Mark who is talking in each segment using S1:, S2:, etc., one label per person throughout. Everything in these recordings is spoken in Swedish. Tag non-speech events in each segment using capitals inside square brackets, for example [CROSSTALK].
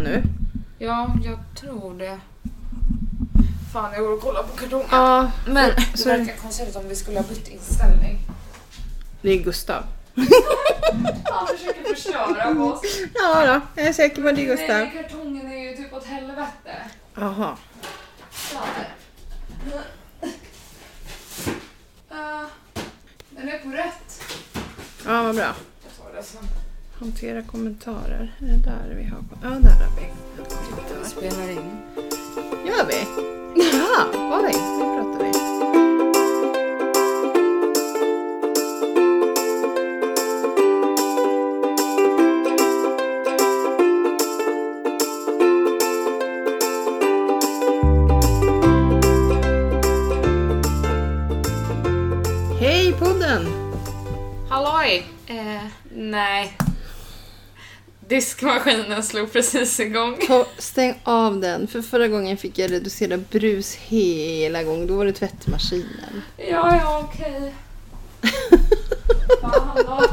S1: nu.
S2: Ja, jag tror det. Fan, jag går och kollar på kartongen.
S1: Ja, men...
S2: Det
S1: Så,
S2: verkar konstigt om vi skulle ha bytt inställning.
S1: det är Gustav.
S2: Han försöker förstöra oss.
S1: Ja då, jag är säker på att det är
S2: Nej,
S1: Mm. Gustav.
S2: men kartongen är ju typ åt helvete.
S1: Jaha.
S2: Så här. Eh, Den är på rätt.
S1: Ja, vad bra.
S2: Jag tar det sen.
S1: Hantera kommentarer. Är det där vi har... Ja, där har vi.
S2: spelar in.
S1: Gör vi? Ja, oj, nu pratar vi. Hej podden!
S2: Halloj! Eh, nej. Diskmaskinen slog precis igång.
S1: Ta, stäng av den, för förra gången fick jag reducera brus hela gången. Då var det tvättmaskinen.
S2: Ja,
S1: [LAUGHS]
S2: ja, okej. Fan då.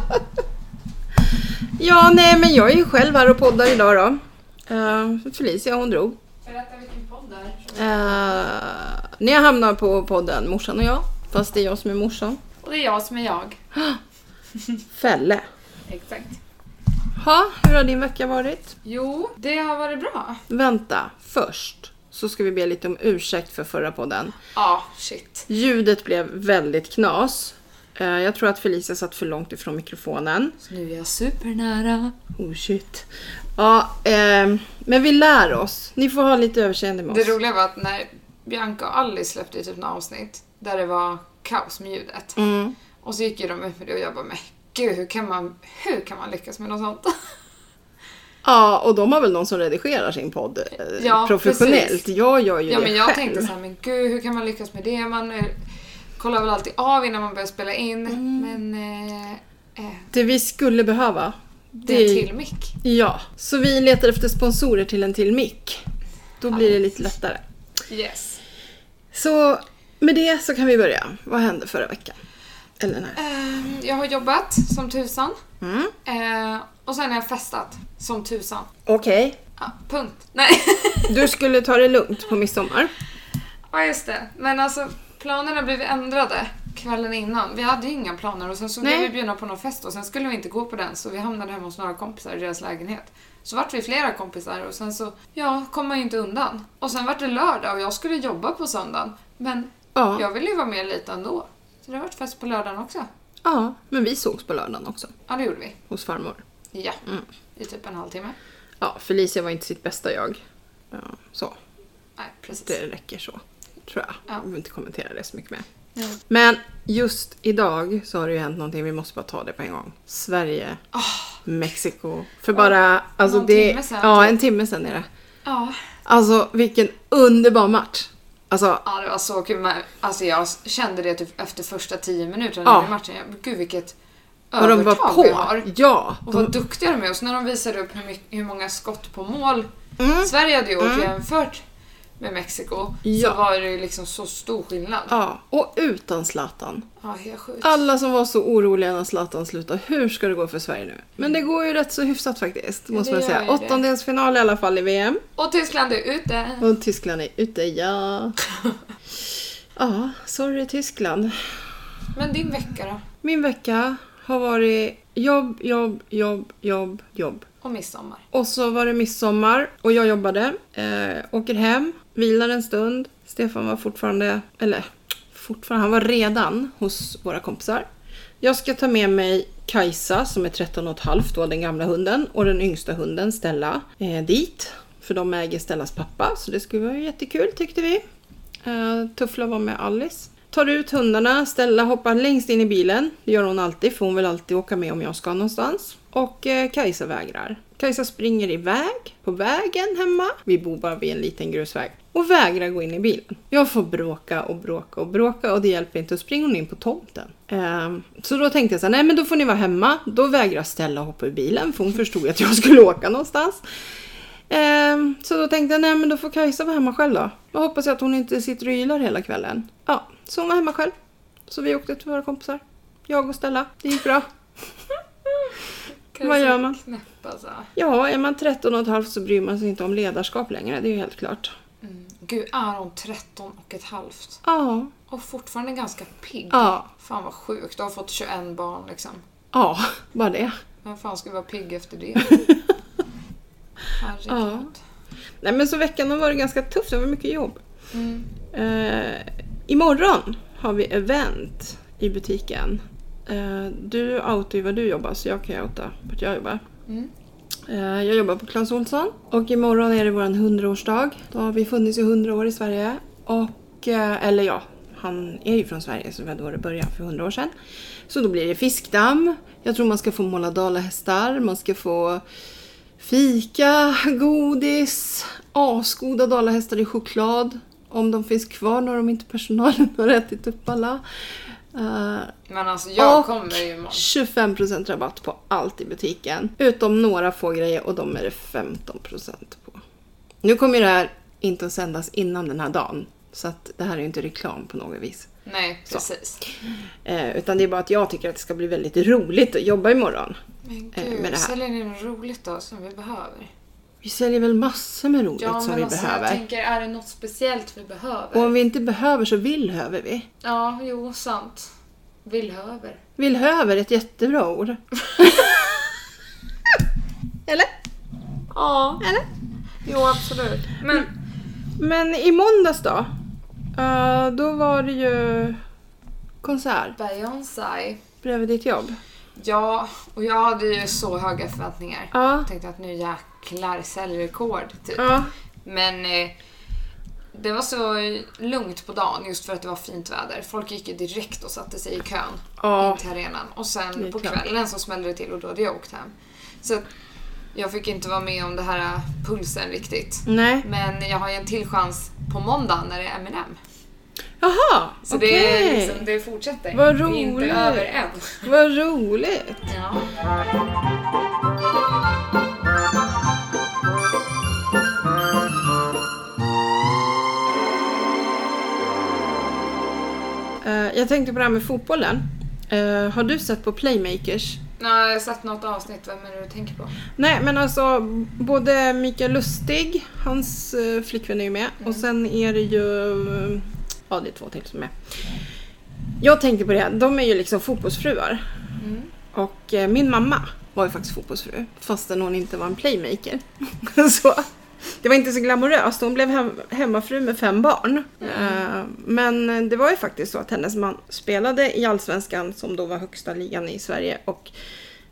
S1: Ja, nej men jag är ju själv här och poddar idag då. Eh, Felicia hon drog.
S2: Berätta vilken podd det är.
S1: Eh, när jag hamnar på podden Morsan och jag, fast det är jag som är morsan.
S2: Och det är jag som är jag.
S1: Fälle.
S2: Exakt.
S1: Ha, hur har din vecka varit?
S2: Jo, det har varit bra.
S1: Vänta, först så ska vi be lite om ursäkt för förra podden.
S2: Ja, shit.
S1: Ljudet blev väldigt knas. Eh, jag tror att Felicia satt för långt ifrån mikrofonen.
S2: Så nu är jag supernära.
S1: Oh shit. Ja, ehm, men vi lär oss. Ni får ha lite överseende med
S2: Det
S1: oss.
S2: roliga var att när Bianca och Alice släppte typ några avsnitt där det var kaos med ljudet.
S1: Mm.
S2: Och så gick ju de ut med det och jag bara men gud hur kan man, hur kan man lyckas med något sånt? [LAUGHS]
S1: Ja, och de har väl någon som redigerar sin podd eh,
S2: Ja,
S1: professionellt.
S2: precis.
S1: Jag gör ju
S2: ja
S1: det
S2: men jag
S1: själv.
S2: tänkte så här, men gud hur kan man lyckas med det? Man eh, kollar väl alltid av innan man börjar spela in. Men eh, eh,
S1: Det vi skulle behöva.
S2: det är till mick.
S1: Ja, så vi letar efter sponsorer till en till mick. Då blir det lite lättare.
S2: Yes.
S1: Så med det så kan vi börja. Vad hände förra veckan? Eller när?
S2: Ehm, jag har jobbat som tusan.
S1: Mm.
S2: Eh, och sen har jag festat som tusan.
S1: Okej.
S2: Ja, punkt. Nej. [LAUGHS]
S1: Du skulle ta det lugnt på midsommar.
S2: ja, just det. Men alltså planerna blev ändrade kvällen innan. Vi hade ju inga planer och sen så blev
S1: Nej.
S2: vi bjudna på någon fest och sen skulle vi inte gå på den så vi hamnade hemma hos några kompisar i deras lägenhet. Så vart vi flera kompisar och sen så, ja, kom man ju inte undan. Och sen vart det lördag och jag skulle jobba på söndagen. Men
S1: Ja.
S2: jag ville ju vara med lite ändå. Så det vart fest på lördagen också.
S1: ja, men vi sågs på lördagen också.
S2: Ja, det gjorde vi.
S1: Hos farmor.
S2: Ja,
S1: Mm.
S2: i typ en halvtimme.
S1: Ja, Felicia var inte sitt bästa jag. Ja, så,
S2: Nej, precis.
S1: det räcker så. Tror jag.
S2: Ja.
S1: Jag vill inte kommentera det så mycket mer.
S2: Ja.
S1: Men just idag så har det ju hänt någonting, vi måste bara ta det på en gång. Sverige, Mexiko. För bara, alltså
S2: Ah. någon
S1: det...
S2: timme sedan. typ.
S1: Ja, en timme sedan är det.
S2: ja.
S1: Alltså vilken underbar match! Alltså,
S2: Ja, det var så kul. Men, alltså, jag kände det typ efter första tio minuterna
S1: Ja.
S2: i matchen. Jag, gud vilket
S1: och de var
S2: övertag vi har.
S1: på! Mm. Ja!
S2: Och
S1: De,
S2: vad duktiga de är. Och så när de visade upp hur, mycket, hur många skott på mål
S1: Mm.
S2: Sverige hade gjort jämfört med Mexiko.
S1: Ja.
S2: Så var det ju liksom så stor skillnad. Ja,
S1: ja, och utan Zlatan.
S2: helt sjukt.
S1: Alla som var så oroliga när Zlatan slutade, hur ska det gå för Sverige nu? Men det går ju rätt så hyfsat faktiskt, måste
S2: det
S1: man
S2: gör
S1: säga.
S2: ju det.
S1: Åttondelsfinal i alla fall i VM.
S2: Och Tyskland är ute.
S1: Och Tyskland är ute,
S2: [LAUGHS]
S1: ja. Ja, sorry Tyskland.
S2: Men din vecka då?
S1: Min vecka har varit jobb, jobb, jobb, jobb, jobb.
S2: Och midsommar.
S1: Och så var det midsommar och jag jobbade. Eh, åker hem, vilar en stund. Stefan var fortfarande, eller fortfarande, han var redan hos våra kompisar. Jag ska ta med mig Kajsa som är 13 och ett halvt då, den gamla hunden. Och den yngsta hunden Stella eh, dit. För de äger Stellas pappa så det skulle vara jättekul tyckte vi. Eh, Tuffla var med Alice. Tar ut hundarna, Stella hoppar längst in i bilen. Det gör hon alltid för hon vill alltid åka med om jag ska någonstans. Och eh, Kajsa vägrar. Kajsa springer iväg, på vägen hemma. Vi bor bara vid en liten grusväg. Och vägrar gå in i bilen. Jag får bråka och bråka och bråka och det hjälper inte. Och springer hon in på tomten. Ehm, så då tänkte jag så här, nej men då får ni vara hemma. Då vägrar Stella hoppa ur bilen för hon förstod att jag skulle åka någonstans. Ehm, så då tänkte jag, nej men då får Kajsa vara hemma själv då. Jag hoppas att hon inte sitter och ylar hela kvällen. Ja, så hon var hemma själv. Så vi åkte till våra kompisar. Jag och Stella. Det gick bra. Vad gör man?
S2: Knäpp alltså.
S1: Ja, är man 13 och ett halvt så bryr man sig inte om ledarskap längre, det är ju helt klart.
S2: Mm. Gud, är hon 13 och ett halvt?
S1: Ja,
S2: Och fortfarande ganska pigg.
S1: ja,
S2: Fan vad sjukt, du har fått 21 barn liksom.
S1: ja, bara det.
S2: Vem fan ska vara pigg
S1: [LAUGHS]
S2: efter det? Herregud.
S1: Ja. Nej men så veckan har varit ganska tuff, det var mycket jobb.
S2: Mm.
S1: Eh, imorgon har vi event i butiken. Eh, du outar ju var du jobbar så jag kan ju outa vart jag jobbar.
S2: Mm.
S1: Eh, jag jobbar på Clas Ohlson och imorgon är det vår 100-årsdag. Då har vi funnits i 100 år i Sverige. Och, eh, eller ja, han är ju från Sverige så det var då det började för 100 år sedan. Så då blir det fiskdamm. Jag tror man ska få måla dalahästar, man ska få fika, godis, asgoda dalahästar i choklad. Om de finns kvar när de inte personalen [LAUGHS] har ätit upp alla. Eh,
S2: Men alltså jag
S1: Och-
S2: kommer ju imorgon.
S1: 25% rabatt på allt i butiken. Utom några få grejer och de är det 15% på. Nu kommer ju det här inte att sändas innan den här dagen. Så att det här är ju inte reklam på något vis.
S2: Nej, precis.
S1: Eh, utan det är bara att jag tycker att det ska bli väldigt roligt att jobba imorgon.
S2: Men
S1: Eh,
S2: gud,
S1: med det här.
S2: säljer ni något roligt då som vi behöver?
S1: Vi säljer väl massor med roligt som vi behöver.
S2: alltså, jag tänker, är det något speciellt vi behöver?
S1: Och om vi inte behöver så villhöver vi.
S2: Ja, jo, sant. Villhöver.
S1: Villhöver är ett jättebra
S2: [LAUGHS]
S1: ord. Eller?
S2: Ja,
S1: Eller?
S2: jo absolut. Men,
S1: Men i måndags då? eh, då var det ju konsert
S2: Beyoncé.
S1: bredvid ditt jobb.
S2: Ja, och jag hade ju så höga förväntningar.
S1: Ja.
S2: Jag tänkte att nu jäklar säljer rekord, typ.
S1: Ja.
S2: Men eh, det var så lugnt på dagen just för att det var fint väder. Folk gick ju direkt och satte sig i kön
S1: Ja.
S2: in till arenan. Och
S1: Det är
S2: sen på
S1: klart.
S2: kvällen så smällde det till och då hade jag åkt hem. Så att jag fick inte vara med om det här eh, pulsen riktigt.
S1: Nej.
S2: Men jag har ju en till chans på måndag när det är M&M.
S1: Jaha,
S2: Så
S1: okej.
S2: det, är liksom, det fortsätter.
S1: Vad
S2: Det är inte
S1: roligt.
S2: över än.
S1: Vad roligt.
S2: Ja.
S1: Eh, jag tänkte på det här med fotbollen. Eh, har du sett på Playmakers?
S2: Nej, jag har sett något avsnitt. Vem är det du tänker på?
S1: Nej, men alltså både Mikael Lustig, hans eh, flickvän är ju med, och sen är det ju... eh, Ja, det är två till som är med. Jag tänkte på det, här, de är ju liksom fotbollsfruar.
S2: Mm.
S1: Och eh, min mamma var ju faktiskt fotbollsfru, fastän hon inte var en playmaker. [LAUGHS] så, det var inte så glamoröst. Hon blev hem, hemmafru med fem barn. Eh, men det var ju faktiskt så att hennes man spelade i Allsvenskan, som då var högsta ligan i Sverige, och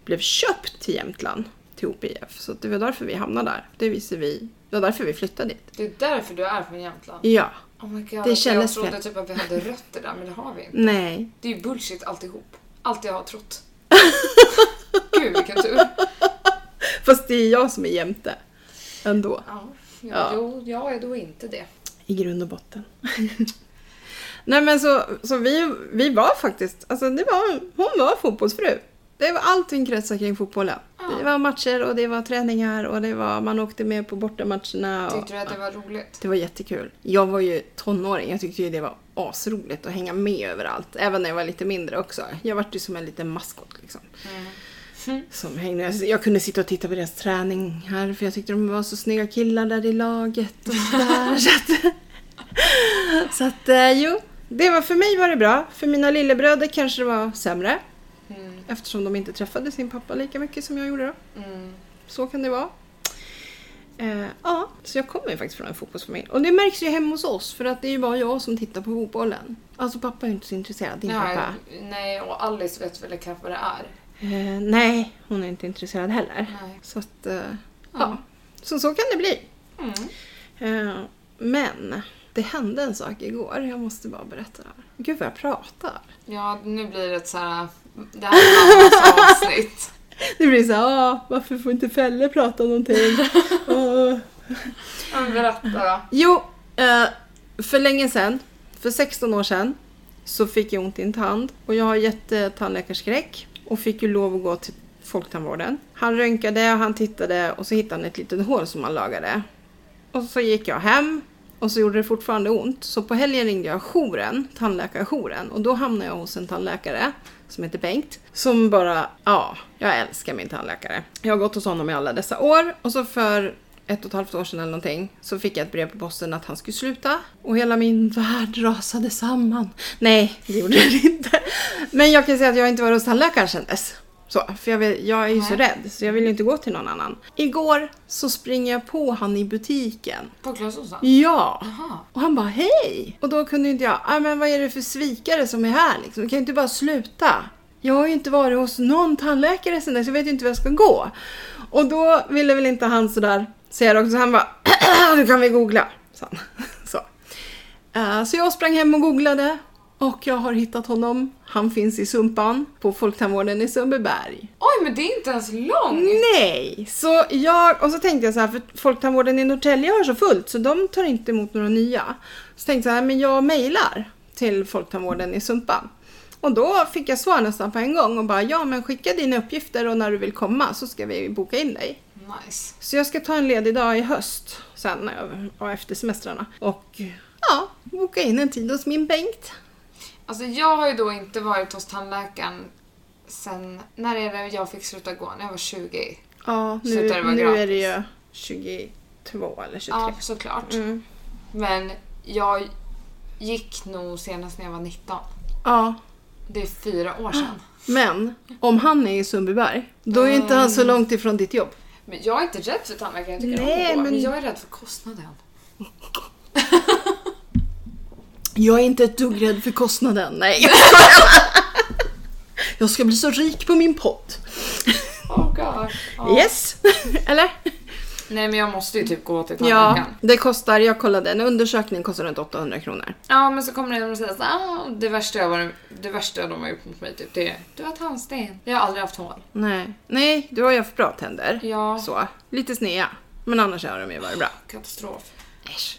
S1: blev köpt till Jämtland, till OPIF. Så det var därför vi hamnade där. Det visste vi. Det var därför vi flyttade dit.
S2: Det är därför du är från Jämtland.
S1: Ja.
S2: Oh my God,
S1: Det
S2: det
S1: kändes
S2: kändes jag trodde
S1: fel.
S2: typ att vi hade rötter där, men det har vi inte.
S1: Nej.
S2: Det är ju bullshit alltihop. Allt jag
S1: [LAUGHS]
S2: har trott. Gud vilken tur.
S1: Fast det är jag som är jämte. Ändå.
S2: Ja, jo,
S1: Ja.
S2: Jo, jag är då inte det.
S1: I grund och botten. [LAUGHS] Nej men så, så vi, vi var faktiskt, alltså det var, hon var fotbollsfru. Det var allting kretsar kring fotbollen.
S2: Ja.
S1: Det var matcher och det var träningar och det var, man åkte med på bortamatcherna. Och,
S2: Tyckte du att det var roligt?
S1: det var jättekul. Jag var ju tonåring, jag tyckte ju det var asroligt att hänga med överallt. Även när jag var lite mindre också. Jag vart ju som en liten maskot liksom. Som hängde. Jag- Jag kunde sitta och titta på deras träning här för jag tyckte de var så snygga killar där i laget och sådär. [LAUGHS] så att, så att eh, jo, det var, för mig var det bra. För mina lillebröder kanske det var sämre
S2: Mm.
S1: eftersom de inte träffade sin pappa lika mycket som jag gjorde då.
S2: Mm.
S1: Så kan det vara. Eh, ja, så jag kommer ju faktiskt från en fotbollsfamilj. Och det märks ju hemma hos oss för att det är ju bara jag som tittar på fotbollen. Alltså pappa är ju inte så intresserad, din
S2: Nej,
S1: pappa.
S2: nej, och Alice vet väl knappt vad det är.
S1: Eh, nej, hon är inte intresserad heller.
S2: Nej.
S1: Så att, eh, ja.
S2: Ja.
S1: Så, så kan det bli.
S2: Mm.
S1: Eh, men, det hände en sak igår. Jag måste bara berätta det här. Gud vad jag pratar.
S2: Ja, nu blir det ett så här... Det här
S1: [LAUGHS]
S2: är mammas avsnitt.
S1: Det blir så här, "Ah, varför får inte Felle prata om någonting? Åh.
S2: Ja, men Berätta då.
S1: Jo, eh, för länge sedan, för 16 år sedan, så fick jag ont i en tand. Och jag har jättetandläkarskräck och fick ju lov att gå till folktandvården. Han röntgade, han tittade och så hittade han ett litet hål som han lagade. Och så gick jag hem Och så gjorde det fortfarande ont. Så på helgen ringde jag jouren, tandläkarjouren. Och då hamnade jag hos en tandläkare som heter Bengt. Som bara, ja, jag älskar min tandläkare. Jag har gått hos honom i alla dessa år. Och så för ett och ett halvt år sedan eller någonting så fick jag ett brev på posten att han skulle sluta och hela min värld rasade samman. Nej, det gjorde det inte. Men jag kan säga att jag inte var hos tandläkaren kändes. Så, för jag, vill, jag är ju så
S2: Nej.
S1: rädd så jag vill ju inte gå till någon annan. Igår så springer jag på han i butiken.
S2: På Clas Ohlson?
S1: Ja!
S2: Jaha.
S1: Och han bara hej! Och då kunde inte jag, "Ah, men vad är det för svikare som är här liksom? Kan jag inte bara sluta? Jag har ju inte varit hos någon tandläkare sen dess, jag vet ju inte var jag ska gå. Och då ville väl inte han sådär säga det också, så han bara [CLEARS THROAT] nu kan vi googla. sa han. [LAUGHS] Så. Eh, så jag sprang hem och googlade och jag har hittat honom. Han finns i Sumpan på Folktandvården i Sundbyberg.
S2: Oj, men det är inte ens långt!
S1: Nej! Så jag, och så tänkte jag så här, för Folktandvården i Norrtälje har så fullt så de tar inte emot några nya. Så tänkte jag så här, men jag mejlar till Folktandvården i Sumpan. Och då fick jag svar nästan på en gång och bara, ja men skicka dina uppgifter och när du vill komma så ska vi boka in dig.
S2: Nice.
S1: Så jag ska ta en ledig dag i höst sen när jag- och efter semestrarna och ja, boka in en tid hos min Bengt.
S2: Alltså jag har ju då inte varit hos tandläkaren sen, när är det jag fick sluta gå? När jag var 20?
S1: Ja,
S2: Så
S1: nu,
S2: där var
S1: nu
S2: gratis.
S1: är det ju 22 eller 23.
S2: Ja, såklart.
S1: typ. Mm.
S2: Men jag gick nog senast när jag var 19.
S1: ja.
S2: Det är fyra år sedan.
S1: Men om han är i Sundbyberg, då är inte han så långt ifrån ditt jobb.
S2: Men jag är inte rädd för tandläkare, jag tycker
S1: Nej,
S2: om att gå.
S1: men-
S2: Men... jag är rädd för kostnaden.
S1: Jag är inte ett dugg rädd för kostnaden, nej. [LAUGHS] Jag ska bli så rik på min pott.
S2: Oh god. Ja.
S1: Yes! [LAUGHS] Eller?
S2: Nej men jag måste ju typ gå till
S1: Ja,
S2: tandläkaren. Ja.
S1: det kostar, jag kollade, en undersökning kostar runt 800 kronor.
S2: men så kommer de och säger såhär, ah, det, värsta jag var, det värsta de har gjort mot mig typ det är, du har tandsten. Jag har aldrig haft hål.
S1: Nej, nej, du har ju haft bra tänder.
S2: Ja.
S1: Så, lite snea. Men annars har de ju varit bra.
S2: Katastrof.
S1: Äsch.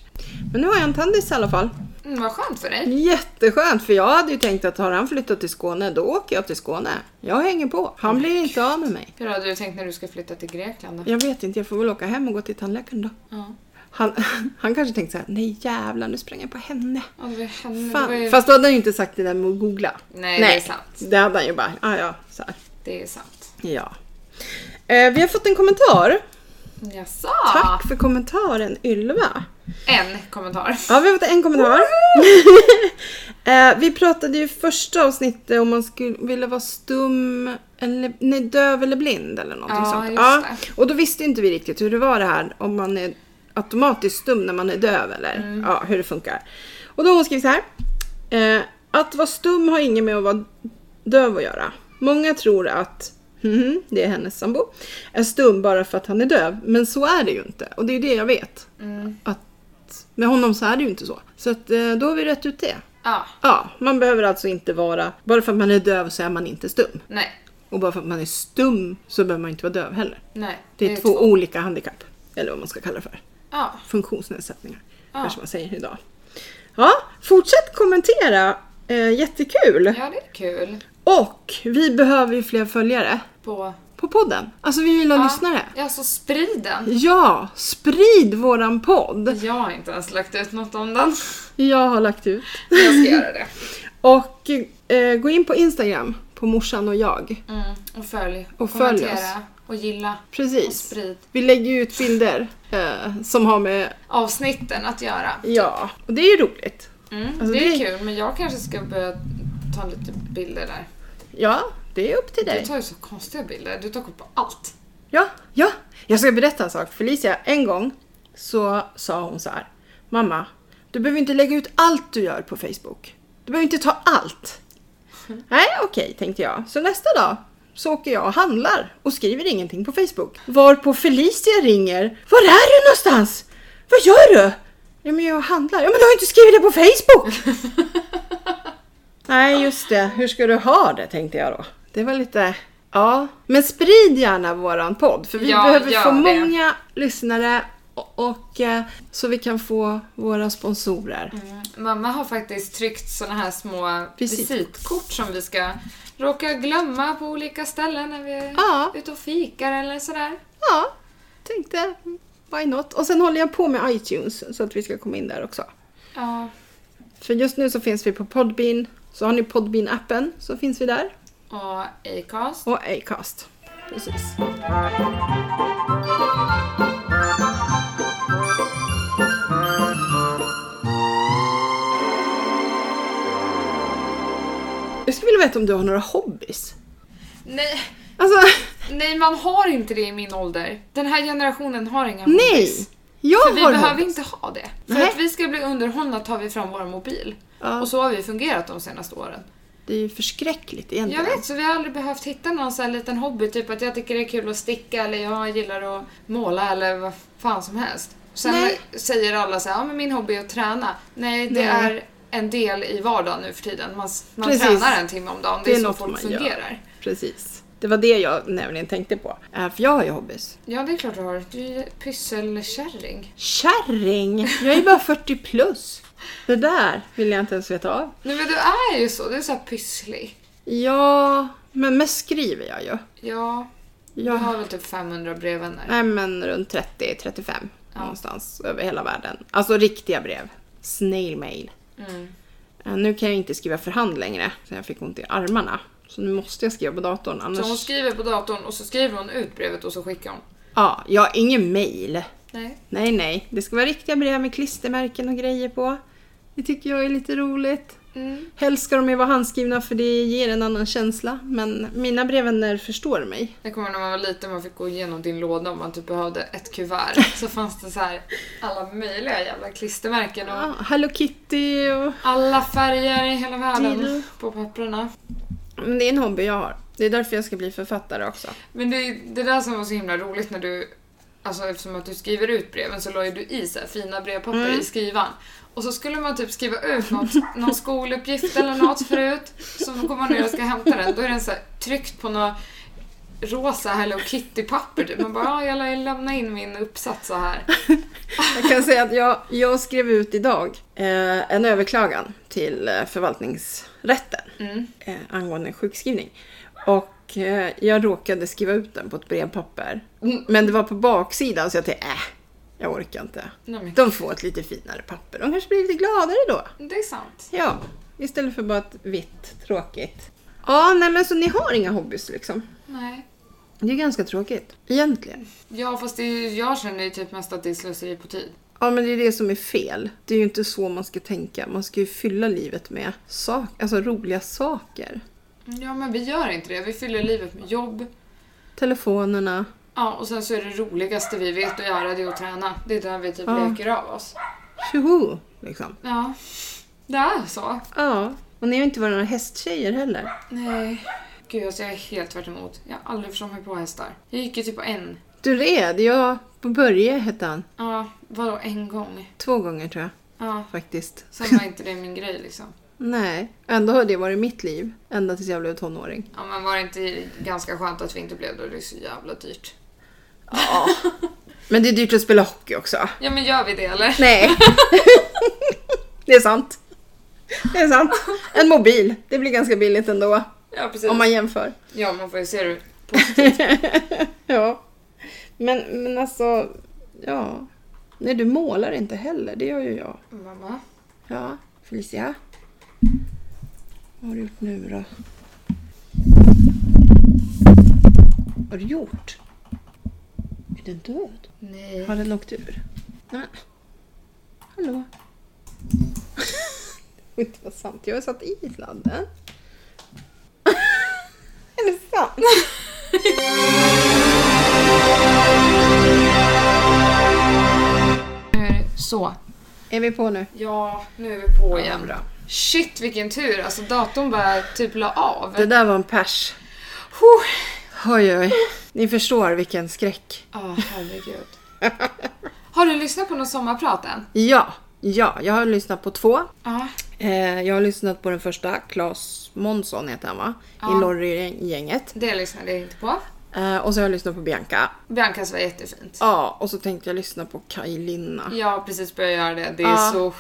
S1: Men nu har jag en tandis i alla fall.
S2: Mm, vad skönt för dig.
S1: Jätteskönt, för jag hade ju tänkt att har han flyttat till Skåne, då åker jag till Skåne. Jag hänger på. Han blir inte av med mig.
S2: Hur hade du tänkt när du ska flytta till Grekland då?
S1: Jag vet inte, jag får väl åka hem och gå till tandläkaren då.
S2: Ja.
S1: Han, [LAUGHS] han kanske tänkte så här, nej jävlar nu sprang jag på henne.
S2: Ja, det var ju henne. Det
S1: Fan.
S2: var ju...
S1: Fast då hade han ju inte sagt det där med att googla.
S2: Nej, det är sant.
S1: Det hade han ju bara, ah, ja, så här.
S2: Det är sant.
S1: ja. Eh, vi har fått en kommentar.
S2: Jaså?
S1: Tack för kommentaren Ylva.
S2: En kommentar.
S1: Ja, vi har fått en kommentar. [LAUGHS] eh, vi pratade ju i första avsnittet om man skulle vilja vara stum, eller, nej, döv eller blind eller någonting
S2: Ja,
S1: sånt.
S2: just
S1: Och då visste inte vi riktigt hur det var det här om man är automatiskt stum när man är döv eller
S2: Mm.
S1: ja, hur det funkar. Och då har hon skrivit så här. Eh, att vara stum har inget med att vara döv att göra. Många tror att mhm, det är hennes sambo, är stum bara för att han är döv. Men så är det ju inte. Och det är ju det jag vet.
S2: Mm.
S1: Att med honom så är det ju inte så. Så att, eh, då har vi rätt ut det.
S2: Ja,
S1: Ja, man behöver alltså inte vara... Bara för att man är döv så är man inte stum.
S2: nej,
S1: Och bara för att man är stum så behöver man inte vara döv heller.
S2: nej.
S1: Det är, två, olika handikapp. Eller vad man ska kalla det för.
S2: Ja,
S1: Funktionsnedsättningar.
S2: Ja.
S1: Kanske man säger idag. Ja, fortsätt kommentera. Eh, jättekul!
S2: ja, det är kul.
S1: Och vi behöver ju fler följare
S2: På...
S1: på podden. Alltså vi vill ha
S2: Ja.
S1: lyssnare.
S2: Ja, så sprid den.
S1: Ja, sprid våran podd.
S2: Jag har inte ens lagt ut något om den.
S1: Jag har lagt ut.
S2: Men Jag ska göra det.
S1: [LAUGHS] Och eh, gå in på Instagram på morsan och jag.
S2: Mm. Och följ.
S1: Och följ
S2: kommentera. Och gilla. Och
S1: Precis.
S2: sprid.
S1: Vi lägger ju ut bilder eh, som har med,
S2: Avsnitten att göra.
S1: ja, och det är ju roligt.
S2: Mm,
S1: Alltså,
S2: det är
S1: det-
S2: kul, men jag kanske ska börja ta lite bilder där.
S1: Ja, det är upp till
S2: Du
S1: dig.
S2: tar ju så konstiga bilder. Du tar kort på allt.
S1: Ja, ja. Jag ska berätta en sak. Felicia, en gång så sa hon så här. Mamma, du behöver inte lägga ut allt du gör på Facebook. Du behöver inte ta allt. Nej, okej, tänkte jag. Så nästa dag så åker jag och handlar och skriver ingenting på Facebook. Varpå Felicia ringer. Var är du någonstans? Vad gör du? Ja, men jag handlar. Ja, men du har ju inte skrivit det på
S2: [LAUGHS]
S1: Facebook! Nej, just det. Hur ska du ha det, tänkte jag då. Det var lite... Ja, men sprid gärna våran podd för vi
S2: Ja,
S1: behöver
S2: gör
S1: få
S2: det.
S1: många lyssnare och, och eh, så vi kan få våra sponsorer.
S2: Mm. Mamma har faktiskt tryckt såna här små
S1: Visitkort.
S2: visitkort som vi ska råka glömma på olika ställen när vi är
S1: Ja.
S2: ute och fikar eller sådär.
S1: Ja, tänkte why not? Och sen håller jag på med iTunes så att vi ska komma in där också.
S2: Ja.
S1: För just nu så finns vi på Podbean. Så har ni Podbean-appen så finns vi där.
S2: Och Acast.
S1: Och Acast. Precis. Jag skulle vilja veta om du har några hobbys?
S2: Nej,
S1: Alltså,
S2: nej, man har inte det i min ålder. Den här generationen har inga
S1: nej!
S2: hobbies.
S1: Jag
S2: För vi
S1: har
S2: behöver
S1: hobbys.
S2: inte ha det. För
S1: Nej.
S2: att vi ska bli underhållna tar vi fram vår mobil.
S1: Ja,
S2: Och så har vi fungerat de senaste åren.
S1: det är ju förskräckligt
S2: Jag
S1: egentligen.
S2: vet, så vi har aldrig behövt hitta någon sån här liten hobby, typ att jag tycker det är kul att sticka eller jag gillar att måla eller vad fan som helst. Sen
S1: Nej.
S2: säger alla så här, ja men min hobby är att träna. Nej, det
S1: Nej.
S2: är en del i vardagen nu för tiden. Man, man
S1: Precis.
S2: tränar en timme om dagen, det,
S1: Det
S2: är
S1: är
S2: så
S1: något
S2: folk
S1: man gör.
S2: fungerar.
S1: Precis. Det var det jag nämligen tänkte på. Äh, för jag har ju hobbys.
S2: Ja, det är klart du har. Du är ju pysselkärring.
S1: Kärring! Jag är bara 40 plus. Det där vill jag inte ens veta av.
S2: Nej men du är ju så, du är så här pysslig.
S1: Ja, men mest skriver jag ju.
S2: Ja, jag
S1: Jag,
S2: har väl typ 500 brevvänner.
S1: nej men runt 30-35
S2: Ja.
S1: någonstans över hela världen. Alltså riktiga brev. Snail mail.
S2: Mm.
S1: Eh, Nu kan jag inte skriva för hand längre, så jag fick ont i armarna. Så nu måste jag skriva på datorn, annars...
S2: Så hon skriver på datorn och så skriver hon ut brevet och så skickar hon.
S1: Ja, jag har ingen mail.
S2: Nej.
S1: Nej, nej. Det ska vara riktiga brev med klistermärken och grejer på. Det tycker jag är lite roligt.
S2: Mm.
S1: Helst ska de ju vara handskrivna för det ger en annan känsla. Men mina brevvänner förstår mig.
S2: Jag kommer ihåg när man var liten man fick gå igenom din låda om man typ behövde ett kuvert. Så fanns det så här alla möjliga jävla klistermärken och
S1: Ja, Hello Kitty och...
S2: alla färger i hela världen
S1: Dido.
S2: på papperna.
S1: Men det är en hobby jag har. Det är därför jag ska bli författare också.
S2: Men det är det där som var så himla roligt när du, alltså eftersom att du skriver ut breven så la ju du i så här fina brevpapper
S1: Mm.
S2: i skrivan. Och så skulle man typ skriva ut något, någon skoluppgift eller något förut. Så går man ner och ska hämta den, då är den så här tryckt på några rosa Hello Kitty-papper typ. Man bara, ja jag lär lämna in min uppsats så här.
S1: Jag kan säga att jag, jag skrev ut idag eh, en överklagan till eh, förvaltningsrätten
S2: Mm.
S1: eh, angående sjukskrivning. Och eh, jag råkade skriva ut den på ett brevpapper.
S2: Mm.
S1: Men det var på baksidan så jag tänkte, äh, jag orkar inte.
S2: Nej, men
S1: De får ett lite finare papper. De kanske blir lite gladare då.
S2: Det är sant.
S1: Ja, istället för bara ett vitt, tråkigt. Ja, nej men så ni har inga hobbys liksom.
S2: Nej.
S1: Det är ganska tråkigt, egentligen.
S2: Ja, fast det är, jag känner ju typ mest att det är slöseri på tid.
S1: Ja, men det är det som är fel. Det är ju inte så man ska tänka. Man ska ju fylla livet med sak, alltså roliga saker.
S2: Ja, men vi gör inte det. Vi fyller livet med jobb.
S1: Telefonerna.
S2: Ja, och sen så är det roligaste vi vet att göra det är att träna. Det är där vi typ
S1: Ja.
S2: leker av oss.
S1: Tjoho! Liksom.
S2: Ja, det är så.
S1: Ja, och ni har inte varit några hästtjejer heller.
S2: Nej. Gud, alltså jag är helt tvärt emot. Jag har aldrig förstått mig på hästar. Jag gick ju typ på en.
S1: Du red, jag på Börje hette han.
S2: Ja, vadå en gång?
S1: Två gånger tror jag
S2: Ja,
S1: faktiskt.
S2: sen var inte det min grej liksom.
S1: Nej, ändå har det varit mitt liv. Ända tills jag blev tonåring.
S2: Ja, men var det inte ganska skönt att vi inte blev det? Det är så jävla dyrt.
S1: Ja. [LAUGHS] Men det är dyrt att spela hockey också.
S2: Ja, men gör vi det eller?
S1: Nej. [LAUGHS] det är sant. Det är sant. En mobil, det blir ganska billigt ändå.
S2: Ja, precis.
S1: Om man jämför.
S2: Ja, man får ju se det
S1: ja. Men, men alltså, ja. Nej, du målar inte heller. Det gör ju jag.
S2: Mamma?
S1: Ja, Felicia. Vad har du gjort nu då? Vad har du gjort? Är den död?
S2: Nej.
S1: Har den åkt ur? Nej. Hallå? [LAUGHS] Det får inte vara sant. Jag har satt i sladden. [LAUGHS] Är det sant?
S2: Nu är det så.
S1: Är vi på nu?
S2: Ja, nu är vi på
S1: Ja,
S2: igen.
S1: bra.
S2: Shit vilken tur, alltså datorn bara typ la av.
S1: Det där var en pers.
S2: Huh.
S1: Oj, oj. Ni förstår vilken skräck.
S2: Ja, herregud. [LAUGHS] Har du lyssnat på någon sommarprat än?
S1: Ja, ja. Jag har lyssnat på två.
S2: Ja.
S1: Eh, jag har lyssnat på den första, Claes Månsson heter han va?
S2: Ja.
S1: I Lorry-gänget.
S2: Det lyssnade jag inte på.
S1: Eh, och så har jag lyssnat på Bianca.
S2: Biancas var jättefint.
S1: Ja, och så tänkte jag lyssna på Kaj Linna.
S2: Jag har precis börjat göra det. Det är
S1: Ja.
S2: så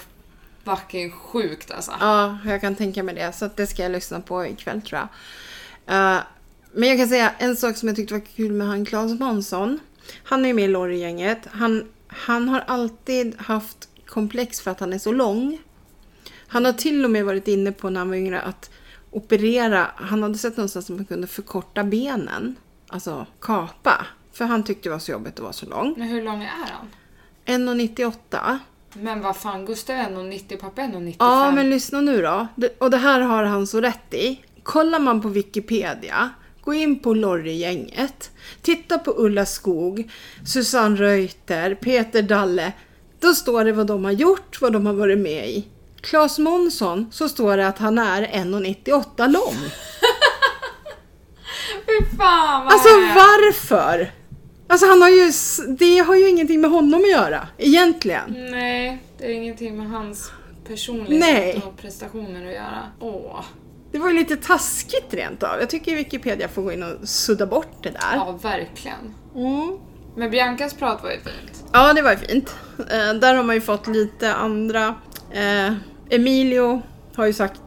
S2: fucking sjukt alltså.
S1: Ja, jag kan tänka mig det. Så att det ska jag lyssna på ikväll tror jag. Eh, men jag kan säga en sak som jag tyckte var kul med han Claes Månsson. Han är ju med i Lorry-gänget. Han, Han har alltid haft komplex för att han är så lång. Han har till och med varit inne på när han var yngre att operera. Han hade sett någonstans att man kunde förkorta benen. Alltså kapa. För han tyckte det var så jobbigt att vara så lång.
S2: Men hur lång är han?
S1: 1,98.
S2: Men vad fan, Gustav är 1,90, pappa är 1,95.
S1: Ja, men lyssna nu då. Det- Och det här har han så rätt i. Kollar man på Wikipedia, gå in på Lorry-gänget, titta på Ulla Skog, Susanne Reuter, Peter Dalle. Då står det vad de har gjort, vad de har varit med i. Claes Månsson, så står det att han är 1,98 lång.
S2: Fy fan vad
S1: Alltså
S2: det är.
S1: varför? Alltså han har ju, s- det har ju ingenting med honom att göra,
S2: Mm.
S1: egentligen.
S2: Nej, det är ingenting med hans personlighet
S1: Nej.
S2: och prestationer att göra. Åh,
S1: Det var ju lite taskigt rent av. Jag tycker Wikipedia får gå in och sudda bort det där.
S2: ja verkligen.
S1: Mm.
S2: Men Biancas prat var ju fint.
S1: Ja, det var ju fint. Eh, där har man ju fått lite andra. Eh, Emilio har ju sagt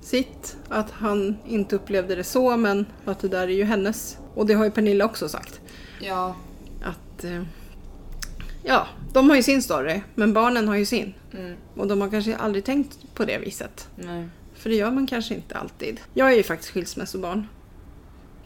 S1: sitt, att han inte upplevde det så, men att det där är ju hennes. Och det har ju Pernilla också sagt.
S2: Ja,
S1: Att, eh, ja, de har ju sin story, men barnen har ju sin.
S2: mm,
S1: Och de har kanske aldrig tänkt på det viset.
S2: nej.
S1: För det gör man kanske inte alltid. Jag är ju faktiskt skilsmässobarn.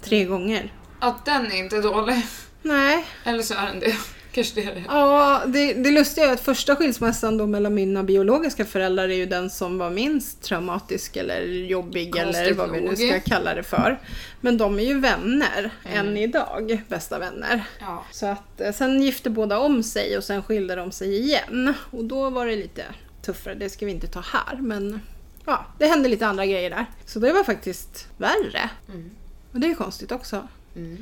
S1: Tre gånger.
S2: Att den är inte dålig. [LAUGHS]
S1: Nej,
S2: Eller så är den det. [LAUGHS] Kanske det är det.
S1: Ja, det, det lustiga är att första skilsmässan då mellan mina biologiska föräldrar är ju den som var minst traumatisk eller jobbig
S2: Konstigt
S1: eller vad vi nu
S2: nog.
S1: ska kalla det för. Men de är ju vänner
S2: Mm.
S1: än idag, bästa vänner.
S2: Ja.
S1: Så att eh, sen gifte båda om sig och sen skilde de sig igen. Och då var det lite tuffare, det ska vi inte ta här men ja, det hände lite andra grejer där. Så det var faktiskt värre.
S2: Mm.
S1: Och det är ju konstigt också.
S2: Mm.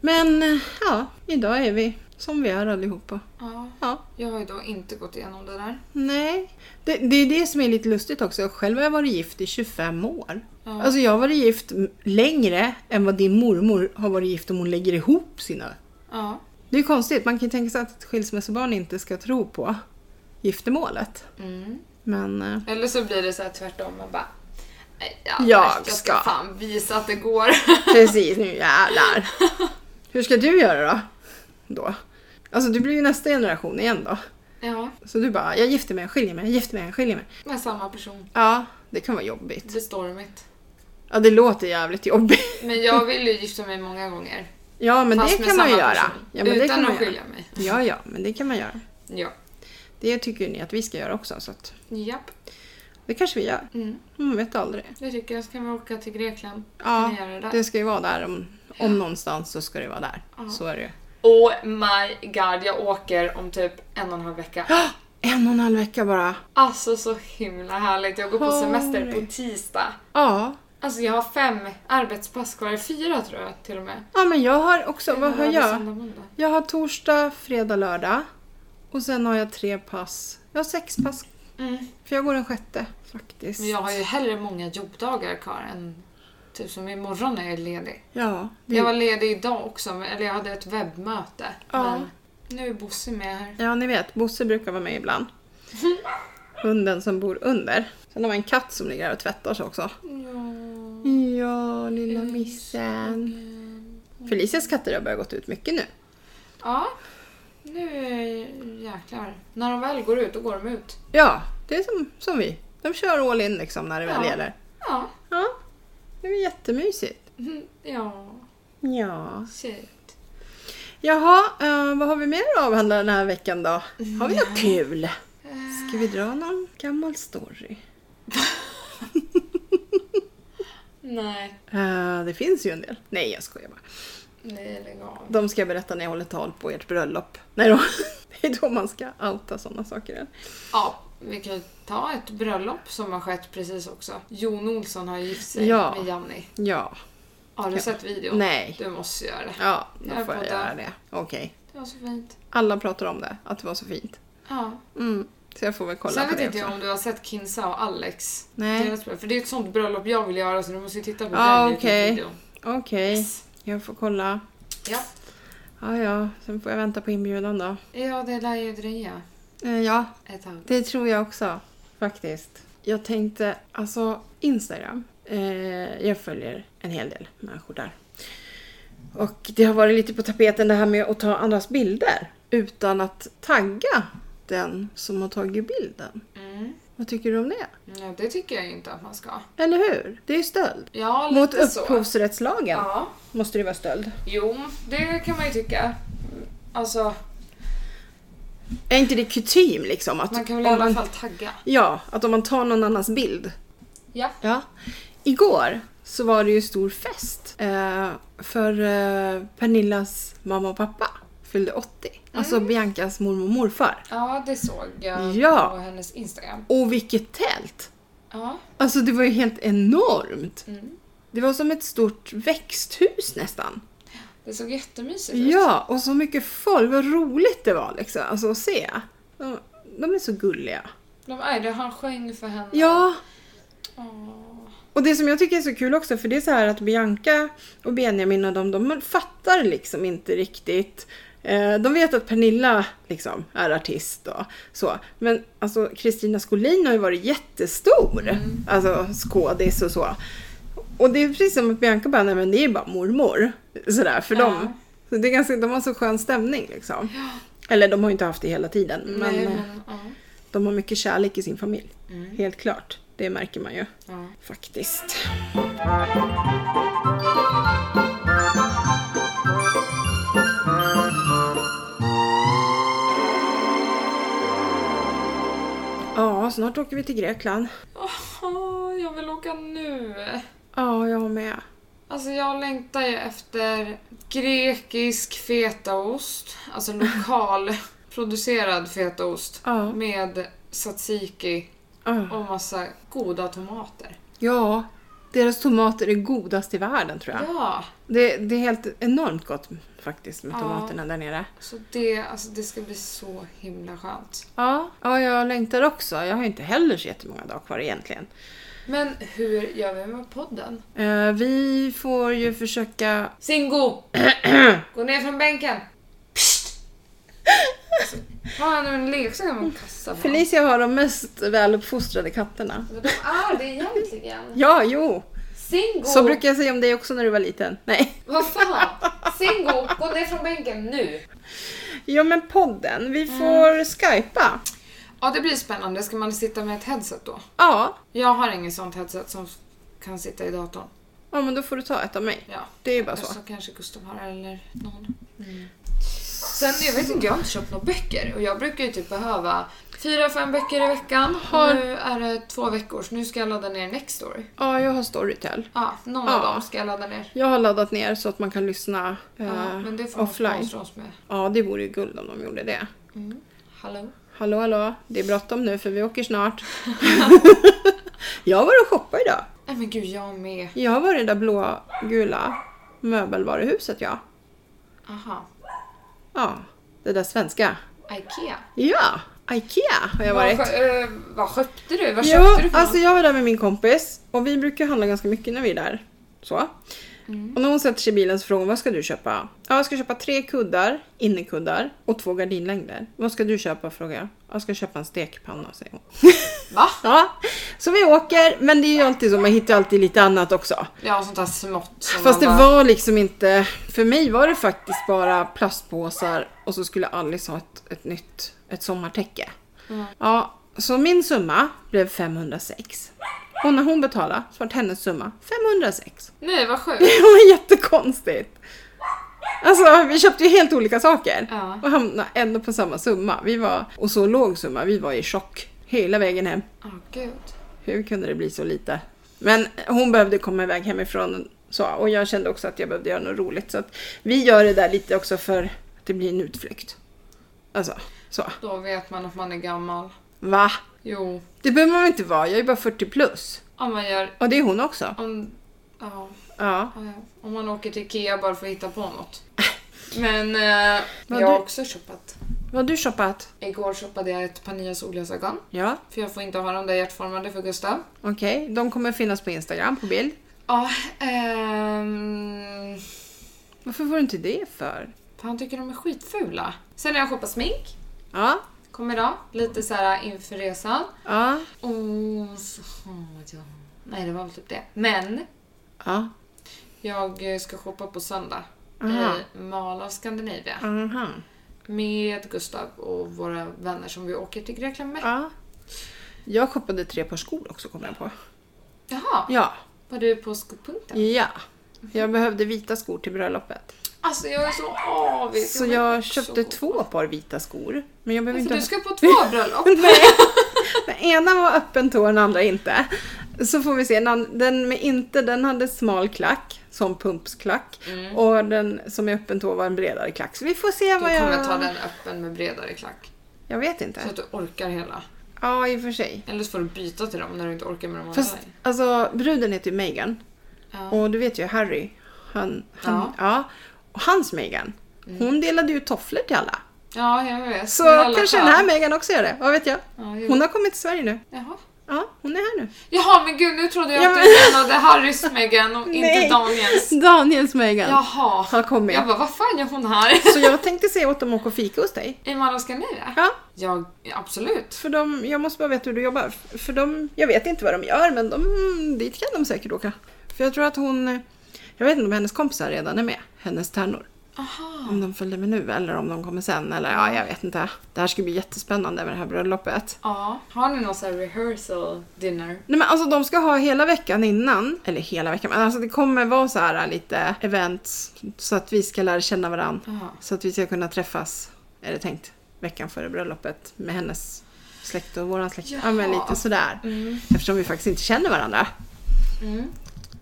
S1: Men eh, ja, idag är vi som vi är allihopa.
S2: ja.
S1: Ja.
S2: Jag har ju då inte gått igenom det där.
S1: Nej, det, det är det som är lite lustigt också. Själv har jag varit gift i 25 år.
S2: Ja.
S1: Alltså jag har varit gift m- längre än vad din mormor har varit gift om hon lägger ihop sina.
S2: Ja.
S1: Det är ju konstigt, man kan ju tänka sig att ett skilsmässobarn inte ska tro på giftermålet.
S2: Mm.
S1: Men eh,
S2: Eller så blir det så här tvärtom. Man bara, "Nej, ja,
S1: Jag
S2: jag ska
S1: ska."
S2: fan visa att det [LAUGHS] går.
S1: precis, nu jävlar. Hur ska du göra då? då? Alltså du blir ju nästa generation igen då.
S2: ja,
S1: Så du bara, jag gifter mig, jag skiljer mig, jag gifter mig, jag skiljer mig.
S2: med samma person.
S1: Ja, det kan vara jobbigt.
S2: Det är stormigt.
S1: Ja, det låter jävligt jobbigt.
S2: [LAUGHS] Men jag vill ju gifta mig många gånger.
S1: Ja, men
S2: Fast
S1: det
S2: med
S1: kan man ju
S2: samma
S1: göra.
S2: person.
S1: Ja, men det kan
S2: Utan
S1: man
S2: att
S1: göra.
S2: skilja mig.
S1: Ja, ja, men det kan man göra.
S2: Ja.
S1: Det tycker ni att vi ska göra också, så att
S2: Japp.
S1: det kanske vi gör.
S2: Mm.
S1: Man vet aldrig.
S2: Jag tycker jag ska åka till Grekland.
S1: Ja,
S2: Kan ni göra det där?
S1: det ska ju vara där. Om, om någonstans så ska det vara där.
S2: Ja.
S1: Så är det ju.
S2: Oh my god, jag åker om typ en och en halv vecka.
S1: En och en halv vecka bara.
S2: Alltså så himla härligt. Jag går på
S1: Holy.
S2: semester på tisdag.
S1: Ja,
S2: Alltså jag har fem arbetspass kvar. Fyra tror jag till och med.
S1: ja men jag har också, vad har
S2: Lördag,
S1: jag?
S2: söndag, måndag.
S1: Jag har torsdag, fredag, lördag. Och sen har jag tre pass. Jag har sex pass.
S2: Mm.
S1: För jag går den sjätte faktiskt.
S2: Men jag har ju hellre många jobbdagar kvar än typ som imorgon är jag ledig.
S1: Ja, det...
S2: Jag var ledig idag också, men- eller jag hade ett webbmöte.
S1: Ja.
S2: Men nu är Bosse med här.
S1: Ja, ni vet. Bosse brukar vara med ibland. Hunden som bor under. Sen har vi en katt som ligger här och tvättar sig också.
S2: Ja.
S1: Ja, lilla missen. Felicias katter har börjat gått ut mycket nu.
S2: Ja, nu är- jäklar. När de väl går ut, då går de ut.
S1: Ja, det är som, som vi. De kör all in liksom när det väl
S2: Ja.
S1: gäller.
S2: Ja.
S1: Ja, det är jättemysigt.
S2: Mm, Ja,
S1: Ja.
S2: shit.
S1: Jaha, eh, vad har vi mer att avhandla den här veckan då? Har vi något kul? Ska vi dra någon gammal story?
S2: Nej,
S1: Eh, det finns ju en del. Nej, jag skojar bara.
S2: nej lägg av.
S1: De ska jag berätta när jag håller tal på ert bröllop. Nej då. [LAUGHS] Det är då man ska outa sådana saker.
S2: Ja, vi kan ju ta ett bröllop som har skett precis också. Jon Olsson har gift sig
S1: Ja.
S2: med Janni.
S1: Ja.
S2: Har du
S1: Ja.
S2: sett videon?
S1: Nej.
S2: Du måste göra det.
S1: Ja, då
S2: Jag
S1: får jag
S2: poddar.
S1: göra det. Okej.
S2: Det var så fint.
S1: Alla pratar om det, att det var så fint.
S2: Ja.
S1: Mm. Så jag får väl kolla
S2: Sen
S1: på
S2: vet
S1: det också.
S2: inte jag om du har sett Kinsa och Alex.
S1: Nej,
S2: Deras bröllop. För det är ett sånt bröllop jag vill göra så du måste ju titta på
S1: Ja,
S2: den
S1: okej.
S2: Youtube-videon.
S1: okej.
S2: Yes.
S1: Jag får kolla.
S2: Ja.
S1: Ja, ja. Sen får jag vänta på inbjudan då.
S2: ja, det lär ju dröja
S1: Eh, ja,
S2: ett tag.
S1: det tror jag också. Faktiskt. Jag tänkte, alltså Instagram. Eh, jag följer en hel del människor där. Och det har varit lite på tapeten det här med att ta andras bilder. utan att tagga den som har tagit bilden.
S2: Mm.
S1: Vad tycker du om det?
S2: Ja, det tycker jag inte att man ska.
S1: Eller hur? Det är ju stöld.
S2: Ja,
S1: Mot
S2: lite så.
S1: upphovsrättslagen
S2: Ja.
S1: måste det vara stöld.
S2: Jo, det kan man ju tycka. Alltså,
S1: Är inte det kutym liksom? Att
S2: man kan väl i
S1: om
S2: alla
S1: man,
S2: fall tagga.
S1: Ja, att om man tar någon annans bild
S2: Ja.
S1: Ja. Igår så var det ju stor fest eh, för eh, Pernillas mamma och pappa fyllde 80. Alltså Biancas mormor och morfar.
S2: Ja, det såg jag
S1: Ja.
S2: på hennes Instagram.
S1: Och vilket tält!
S2: Ja.
S1: Alltså det var ju helt enormt.
S2: Mm.
S1: Det var som ett stort växthus nästan.
S2: Det såg jättemysigt ut.
S1: Ja, och så mycket folk. Vad roligt det var liksom, alltså att se. De, de är så gulliga.
S2: De är det. Han sjöng för henne.
S1: Ja,
S2: Åh.
S1: Och det som jag tycker är så kul också, för det är så här att Bianca och Benjamin och de, de fattar liksom inte riktigt. Eh, De vet att Pernilla liksom är artist och så. Men alltså Kristina Skolin har ju varit jättestor.
S2: Mm.
S1: Alltså skådis och så. Och det är precis som att Bianca bara, nej men det är ju bara mormor. Sådär för
S2: Ja.
S1: dem. Så det är ganska, de har så skön stämning liksom. Eller de har ju inte haft det hela tiden. Men,
S2: Nej,
S1: eh,
S2: men, ja.
S1: de har mycket kärlek i sin familj. Helt klart. Det märker man ju.
S2: Ja.
S1: Faktiskt. Ja, snart åker vi till Grekland.
S2: Åh, jag vill åka nu.
S1: Ja, jag med.
S2: Alltså jag längtar ju efter grekisk fetaost. Alltså lokal producerad fetaost.
S1: Ja.
S2: Med tzatziki
S1: Ah.
S2: och massa goda tomater.
S1: Ja, deras tomater är godast i världen tror jag.
S2: Ja!
S1: Det, det är helt enormt gott faktiskt med
S2: Ja.
S1: tomaterna där nere.
S2: Så det, alltså det ska bli så himla skönt.
S1: Ja. ja, jag längtar också. Jag har inte heller så jättemånga dagar kvar egentligen.
S2: Men hur gör vi med podden?
S1: Eh, vi får ju försöka... [CLEARS THROAT]
S2: Singo! Gå ner från bänken! Psst! Alltså, vad är det med en leksak man kastar på?
S1: Felicia har de mest väluppfostrade katterna.
S2: Men De är det egentligen.
S1: Ja, jo.
S2: Singo!
S1: Så brukar jag säga om dig också när du var liten. Nej.
S2: Vad fan? Singo, gå ner från bänken nu!
S1: Ja, men podden. Vi får skypa.
S2: Ja, det blir spännande. Ska man sitta med ett headset då?
S1: Ja.
S2: Jag har inget sånt headset som kan sitta i datorn.
S1: ja, men då får du ta ett av mig.
S2: Ja.
S1: Det är ju bara
S2: Så.
S1: så.
S2: kanske Gustav har eller någon. Mm. Sen, jag vet inte, jag har inte köpt några böcker och jag brukar ju typ behöva fyra, fem böcker i veckan.
S1: Har-
S2: Och nu är det två veckor så nu ska jag ladda ner Nextory.
S1: Ja, jag har Storytel.
S2: Ja, någon
S1: Ja.
S2: av dem ska jag ladda ner.
S1: Jag har laddat ner så att man kan lyssna eh,
S2: Ja, men det får de
S1: offline.
S2: sponsra oss med.
S1: Ja, det vore ju guld om de gjorde det.
S2: Mm. Hallå?
S1: Hallå, hallå. Det är bråttom nu för vi åker [LAUGHS] snart. jag var och shoppade idag.
S2: Nej men gud, jag med.
S1: Jag har varit i det där blågula möbelvaruhuset, ja.
S2: Aha.
S1: Ja, det där svenska.
S2: Ikea.
S1: Ja, Ikea har jag varit.
S2: Vad, skö- eh, vad köpte du? Vad köpte
S1: Ja,
S2: du för
S1: alltså
S2: något?
S1: jag var där med min kompis och vi brukar handla ganska mycket när vi är där. Så.
S2: Mm.
S1: Och när hon sätter sig i bilen så frågar hon vad ska du köpa? Ja, jag ska köpa tre kuddar, innekuddar och två gardinlängder. Vad ska du köpa? frågar jag. Jag ska köpa en stekpanna säger hon.
S2: Va?
S1: [LAUGHS] Ja, så vi åker men det är ju alltid så, man hittar alltid lite annat också.
S2: Ja, sånt där smått. som
S1: Fast det
S2: man bara-
S1: var liksom inte, för mig var det faktiskt bara plastpåsar och så skulle Alice ha ett, ett nytt, ett sommartäcke.
S2: Mm.
S1: Ja, så min summa blev 506. Och när hon betalade så var hennes summa 506.
S2: Nej, vad
S1: [LAUGHS]
S2: sjukt.
S1: Det var jättekonstigt. Alltså vi köpte ju helt olika saker
S2: Ja.
S1: och hamnade ändå på samma summa. Vi var, och så låg summa, vi var i chock hela vägen hem.
S2: Åh gud.
S1: Hur kunde det bli så lite? Men hon behövde komma iväg hemifrån så, och jag kände också att jag behövde göra något roligt. Så att vi gör det där lite också för att det blir en utflykt. Alltså, så.
S2: Då vet man att man är gammal.
S1: Va?
S2: Jo,
S1: Det behöver man väl inte vara? Jag är bara 40 plus.
S2: om man gör...
S1: Och det är hon också.
S2: Om, ja,
S1: Ja.
S2: ja, ja. om man åker till Ikea bara för att hitta på något. Men eh,
S1: Vad
S2: jag har
S1: du-
S2: också shoppat.
S1: Vad har du shoppat?
S2: Igår shoppade jag ett par nya solglasögon.
S1: Ja,
S2: För jag får inte ha de där hjärtformade för Gustav.
S1: okej. De kommer finnas på Instagram på bild.
S2: Ja, ehm,
S1: Varför får du inte det för?
S2: för han tycker de är skitfula. Sen har jag shoppat smink.
S1: Ja,
S2: Kom idag. Lite så här inför resan.
S1: ja,
S2: Och så... ja. Nej, det var väl typ det. Men
S1: ja.
S2: Jag eh, ska shoppa på söndag
S1: Aha.
S2: i Mall of Scandinavia.
S1: Aha.
S2: med Gustav och våra vänner som vi åker till Grekland med.
S1: Ja. Jag shoppade tre par skor också kom jag på.
S2: Jaha,
S1: Ja.
S2: var du på skopunkten?
S1: Ja. Jag behövde vita skor till bröllopet.
S2: Alltså jag är så avis.
S1: Så
S2: vill
S1: jag
S2: också
S1: köpte
S2: gå.
S1: två par vita skor. Men jag behöver inte...
S2: För du ska
S1: [LAUGHS]
S2: på två bröllop.
S1: Nej. [LAUGHS] Den ena var öppen tå, den andra inte. Så får vi se. Den an- Den med inte, den hade smal klack, som pumpsklack. Och den som är öppen tå var en bredare klack. Så vi får se
S2: Du
S1: vad jag...
S2: Mm. kommer ta den öppen med bredare klack.
S1: Jag vet inte.
S2: Så att du orkar hela.
S1: Ja, i och för sig.
S2: Eller så får du byta till dem när du inte orkar med de andra.
S1: Fast alltså, bruden heter ju Megan.
S2: Ja.
S1: Och du vet ju Harry. Han, han,
S2: Ja. Mm.
S1: ja. Och hans Megan. Hon delade ju tofflor till alla.
S2: ja, jag vet.
S1: Så
S2: Det är alla
S1: kanske
S2: skär.
S1: den här Megan också gör det. Vad vet jag?
S2: Ja, jo.
S1: Hon har kommit till Sverige nu.
S2: Jaha.
S1: Ja, hon är här nu.
S2: Jaha, men gud nu trodde jag
S1: Ja,
S2: att
S1: men-
S2: du menade Harrys Megan och
S1: Nej.
S2: inte Daniels.
S1: Daniels Megan.
S2: Jaha.
S1: har kommit.
S2: Jag bara, vad fan gör hon här? [LAUGHS]
S1: Så jag tänkte se åt dem att åka och fika hos dig.
S2: I Malmö ska ni det?
S1: Ja,
S2: Ja, absolut.
S1: för de, jag måste bara veta hur du jobbar. För de, jag vet inte vad de gör men de, dit kan de säkert åka. För jag tror att hon, jag vet inte om hennes kompisar redan är med, hennes tärnor.
S2: Aha.
S1: Om de följde med nu eller om de kommer sen eller ja, jag vet inte. Det här ska bli jättespännande med det här bröllopet.
S2: Ja. Har ni någon sån här rehearsal dinner?
S1: Nej men alltså de ska ha hela veckan innan, eller hela veckan, men alltså det kommer vara så här lite events så att vi ska lära känna varandra.
S2: Jaha.
S1: Så att vi ska kunna träffas, är det tänkt, veckan före bröllopet med hennes släkt och våran släkt. Ja, men
S2: Jaha.
S1: lite sådär.
S2: Mm.
S1: Eftersom vi faktiskt inte känner varandra
S2: Mm.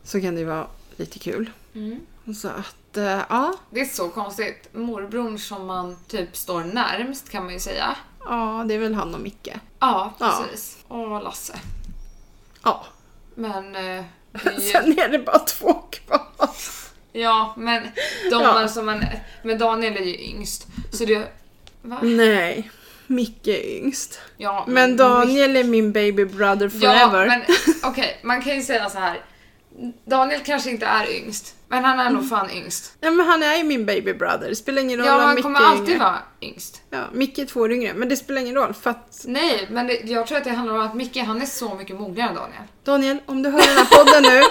S1: så kan det ju vara lite kul.
S2: Mm.
S1: Så att, eh, ja.
S2: Det är så konstigt. Morbrorn som man typ står närmst kan man ju säga.
S1: Ja, det är väl han och Micke.
S2: Ja,
S1: Ja.
S2: precis. Och Lasse.
S1: Ja.
S2: Men... Eh, det är ju-
S1: Sen är det bara två kvar.
S2: ja, men de
S1: Ja.
S2: alltså, man, Men Daniel är ju yngst. Så det... Va?
S1: Nej, Micke är yngst.
S2: Ja,
S1: Men Daniel är min baby brother forever.
S2: Ja, men okej, man kan ju säga så här. Daniel kanske inte är yngst, men han är nog fan yngst.
S1: Ja, men han är ju min baby brother. Det spelar ingen roll
S2: Ja,
S1: om
S2: han
S1: Micke
S2: kommer
S1: är
S2: alltid
S1: yngre.
S2: vara yngst.
S1: Ja, Micke är två år yngre, men det spelar ingen roll för att
S2: Nej, men det, jag tror att det handlar om att Micke, han är så mycket mognare än Daniel.
S1: Daniel, om du hör den här podden nu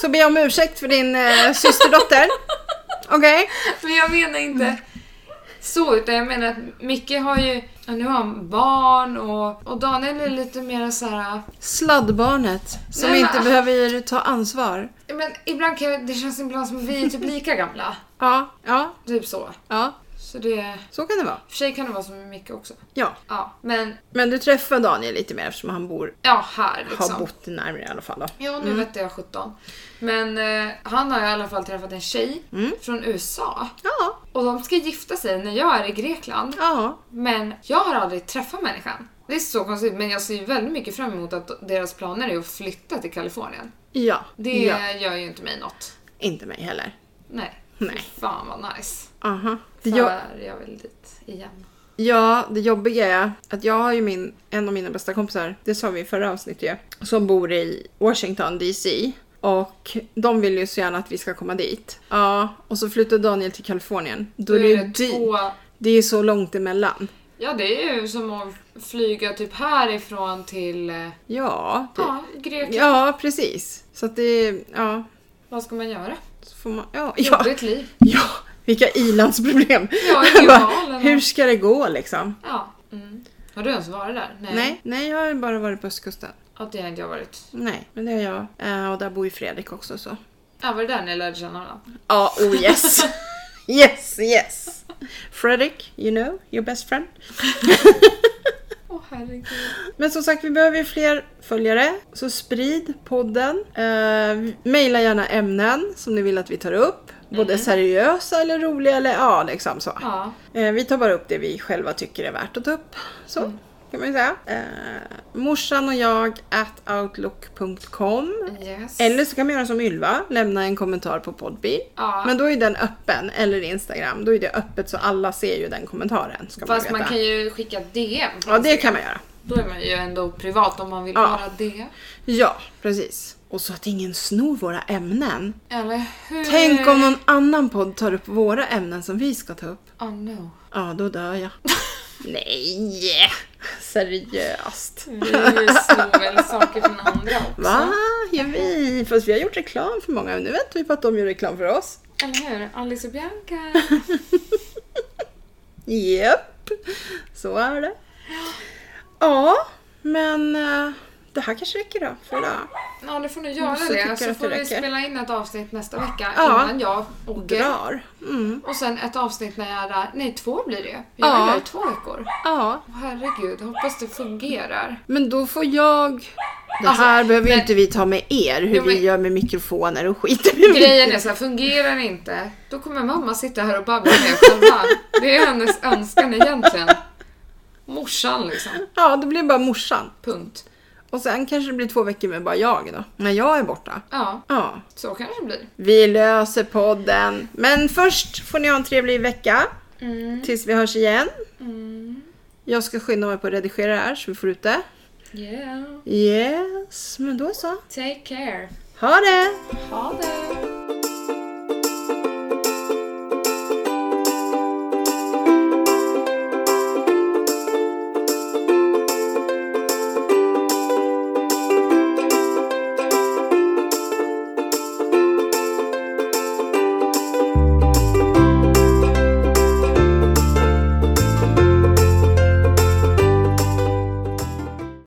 S1: så ber jag om ursäkt för din eh, systerdotter. Okej?
S2: [LAUGHS] Men jag menar inte så, utan jag menar att Micke har ju, ja, nu har han barn och, och Daniel är lite mer så här.
S1: Sladdbarnet som
S2: Nej, men-
S1: inte behöver ta ansvar.
S2: men ibland kan jag, det känns ibland som att vi är typ lika gamla.
S1: Ja, ja,
S2: Typ så.
S1: ja.
S2: Så det,
S1: Så kan det vara.
S2: för sig kan det vara som med Micke också.
S1: Ja.
S2: Ja, men
S1: Men du träffar Daniel lite mer eftersom han bor,
S2: ja, här
S1: har
S2: liksom.
S1: bott närmare i alla fall. Då.
S2: Ja, nu vet jag 17. Mm. Men eh, han har i alla fall träffat en tjej
S1: Mm.
S2: från USA.
S1: Ja,
S2: Och de ska gifta sig när jag är i Grekland.
S1: ja.
S2: Men jag har aldrig träffat människan. Det är så konstigt, men jag ser ju väldigt mycket fram emot att deras planer är att flytta till Kalifornien.
S1: Ja.
S2: Det
S1: ja.
S2: gör ju inte mig något.
S1: Inte mig heller.
S2: Nej.
S1: Nej.
S2: Fan vad nice.
S1: Aha. Det
S2: För
S1: jag,
S2: jag vill dit igen.
S1: ja, det jobbiga är att jag har ju min, en av mina bästa kompisar, det sa vi i förra avsnittet ju, som bor i Washington DC. Och de vill ju så gärna att vi ska komma dit. Ja, och så flyttar Daniel till Kalifornien. Då är det ju dyrt.
S2: två...
S1: Det är så långt emellan.
S2: Ja, det är ju som att flyga typ härifrån till eh,
S1: Ja, det,
S2: ja, Grekland.
S1: ja precis. Så att det, ja,
S2: Vad ska man göra?
S1: så får man, ja,
S2: Ja.
S1: ja,
S2: Jobbigt liv.
S1: [LAUGHS] ja, vilka ilandsproblem.
S2: Ja,
S1: [LAUGHS]
S2: inget
S1: Bara,
S2: val eller-
S1: Hur ska det gå liksom?
S2: Ja. Mm. Har du ens varit där? Nej.
S1: Nej, nej, jag har bara varit på östkusten.
S2: Ja, det har inte jag varit.
S1: Nej, men det har jag. Eh, och där bor ju Fredrik också så.
S2: Ja, var det där ni lärde känna varandra?
S1: Ja, oh yes. [LAUGHS] yes, yes. Fredrik, you know, your best friend.
S2: Åh herregud.
S1: Men som sagt, vi behöver ju fler följare. Så sprid podden. Eh, maila gärna ämnen som ni vill att vi tar upp. Både seriösa eller roliga eller ja, liksom så.
S2: Ja.
S1: Eh, vi tar bara upp det vi själva tycker är värt att ta upp. Så kan man ju säga. Eh, morsan och jag at outlook.com.
S2: Yes.
S1: Eller så kan man göra som Ylva, lämna en kommentar på Podbean.
S2: Ja.
S1: Men då är den öppen, eller Instagram, då är det öppet så alla ser ju den kommentaren. Ska man
S2: Fast
S1: veta.
S2: man kan ju skicka DM.
S1: Ja, det kan man göra.
S2: Då är man ju ändå privat om man vill
S1: Ja.
S2: vara det.
S1: Ja, precis. Och så att ingen snor våra ämnen.
S2: Eller hur?
S1: Tänk om någon annan podd tar upp våra ämnen som vi ska ta upp.
S2: Oh no.
S1: Ja, då dör
S2: [LAUGHS]
S1: jag. Nej! Seriöst.
S2: Vi snor väl saker från andra också.
S1: Va? Gör vi? Fast vi har gjort reklam för många. Nu väntar vi på att de gör reklam för oss.
S2: Eller hur? Alice och Bianca.
S1: Japp, så är det. Ja, men eh, det här kanske räcker då för idag.
S2: Ja, det får ni göra
S1: Så tycker
S2: det.
S1: jag
S2: Så
S1: att
S2: får
S1: det
S2: vi
S1: räcker.
S2: spela in ett avsnitt nästa vecka
S1: Ja.
S2: innan jag
S1: Och
S2: åker.
S1: drar. Mm.
S2: Och sen ett avsnitt när jag är där. Nej, två blir det ju. Jag
S1: Ja.
S2: är där i två veckor.
S1: Ja,
S2: Åh, Herregud, hoppas det fungerar.
S1: men då får jag... Det här behöver ju inte vi ta med er, hur
S2: Jo, men-
S1: vi gör med mikrofoner och skit. [LAUGHS] i mig.
S2: Grejen är så här, fungerar det inte, då kommer mamma sitta här och babbla med själva. Det är hennes önskan egentligen. Morsan liksom.
S1: Ja, det blir bara morsan.
S2: Punkt.
S1: Och sen kanske det blir två veckor med bara jag då, när jag är borta.
S2: Ja,
S1: Ja,
S2: så kanske det blir.
S1: vi löser podden. Men först får ni ha en trevlig vecka,
S2: Mm.
S1: tills vi hörs igen.
S2: Mm.
S1: Jag ska skynda mig på att redigera det här så vi får ut det.
S2: Yeah.
S1: Yes, men då så.
S2: Take care.
S1: Ha det!
S2: Ha det.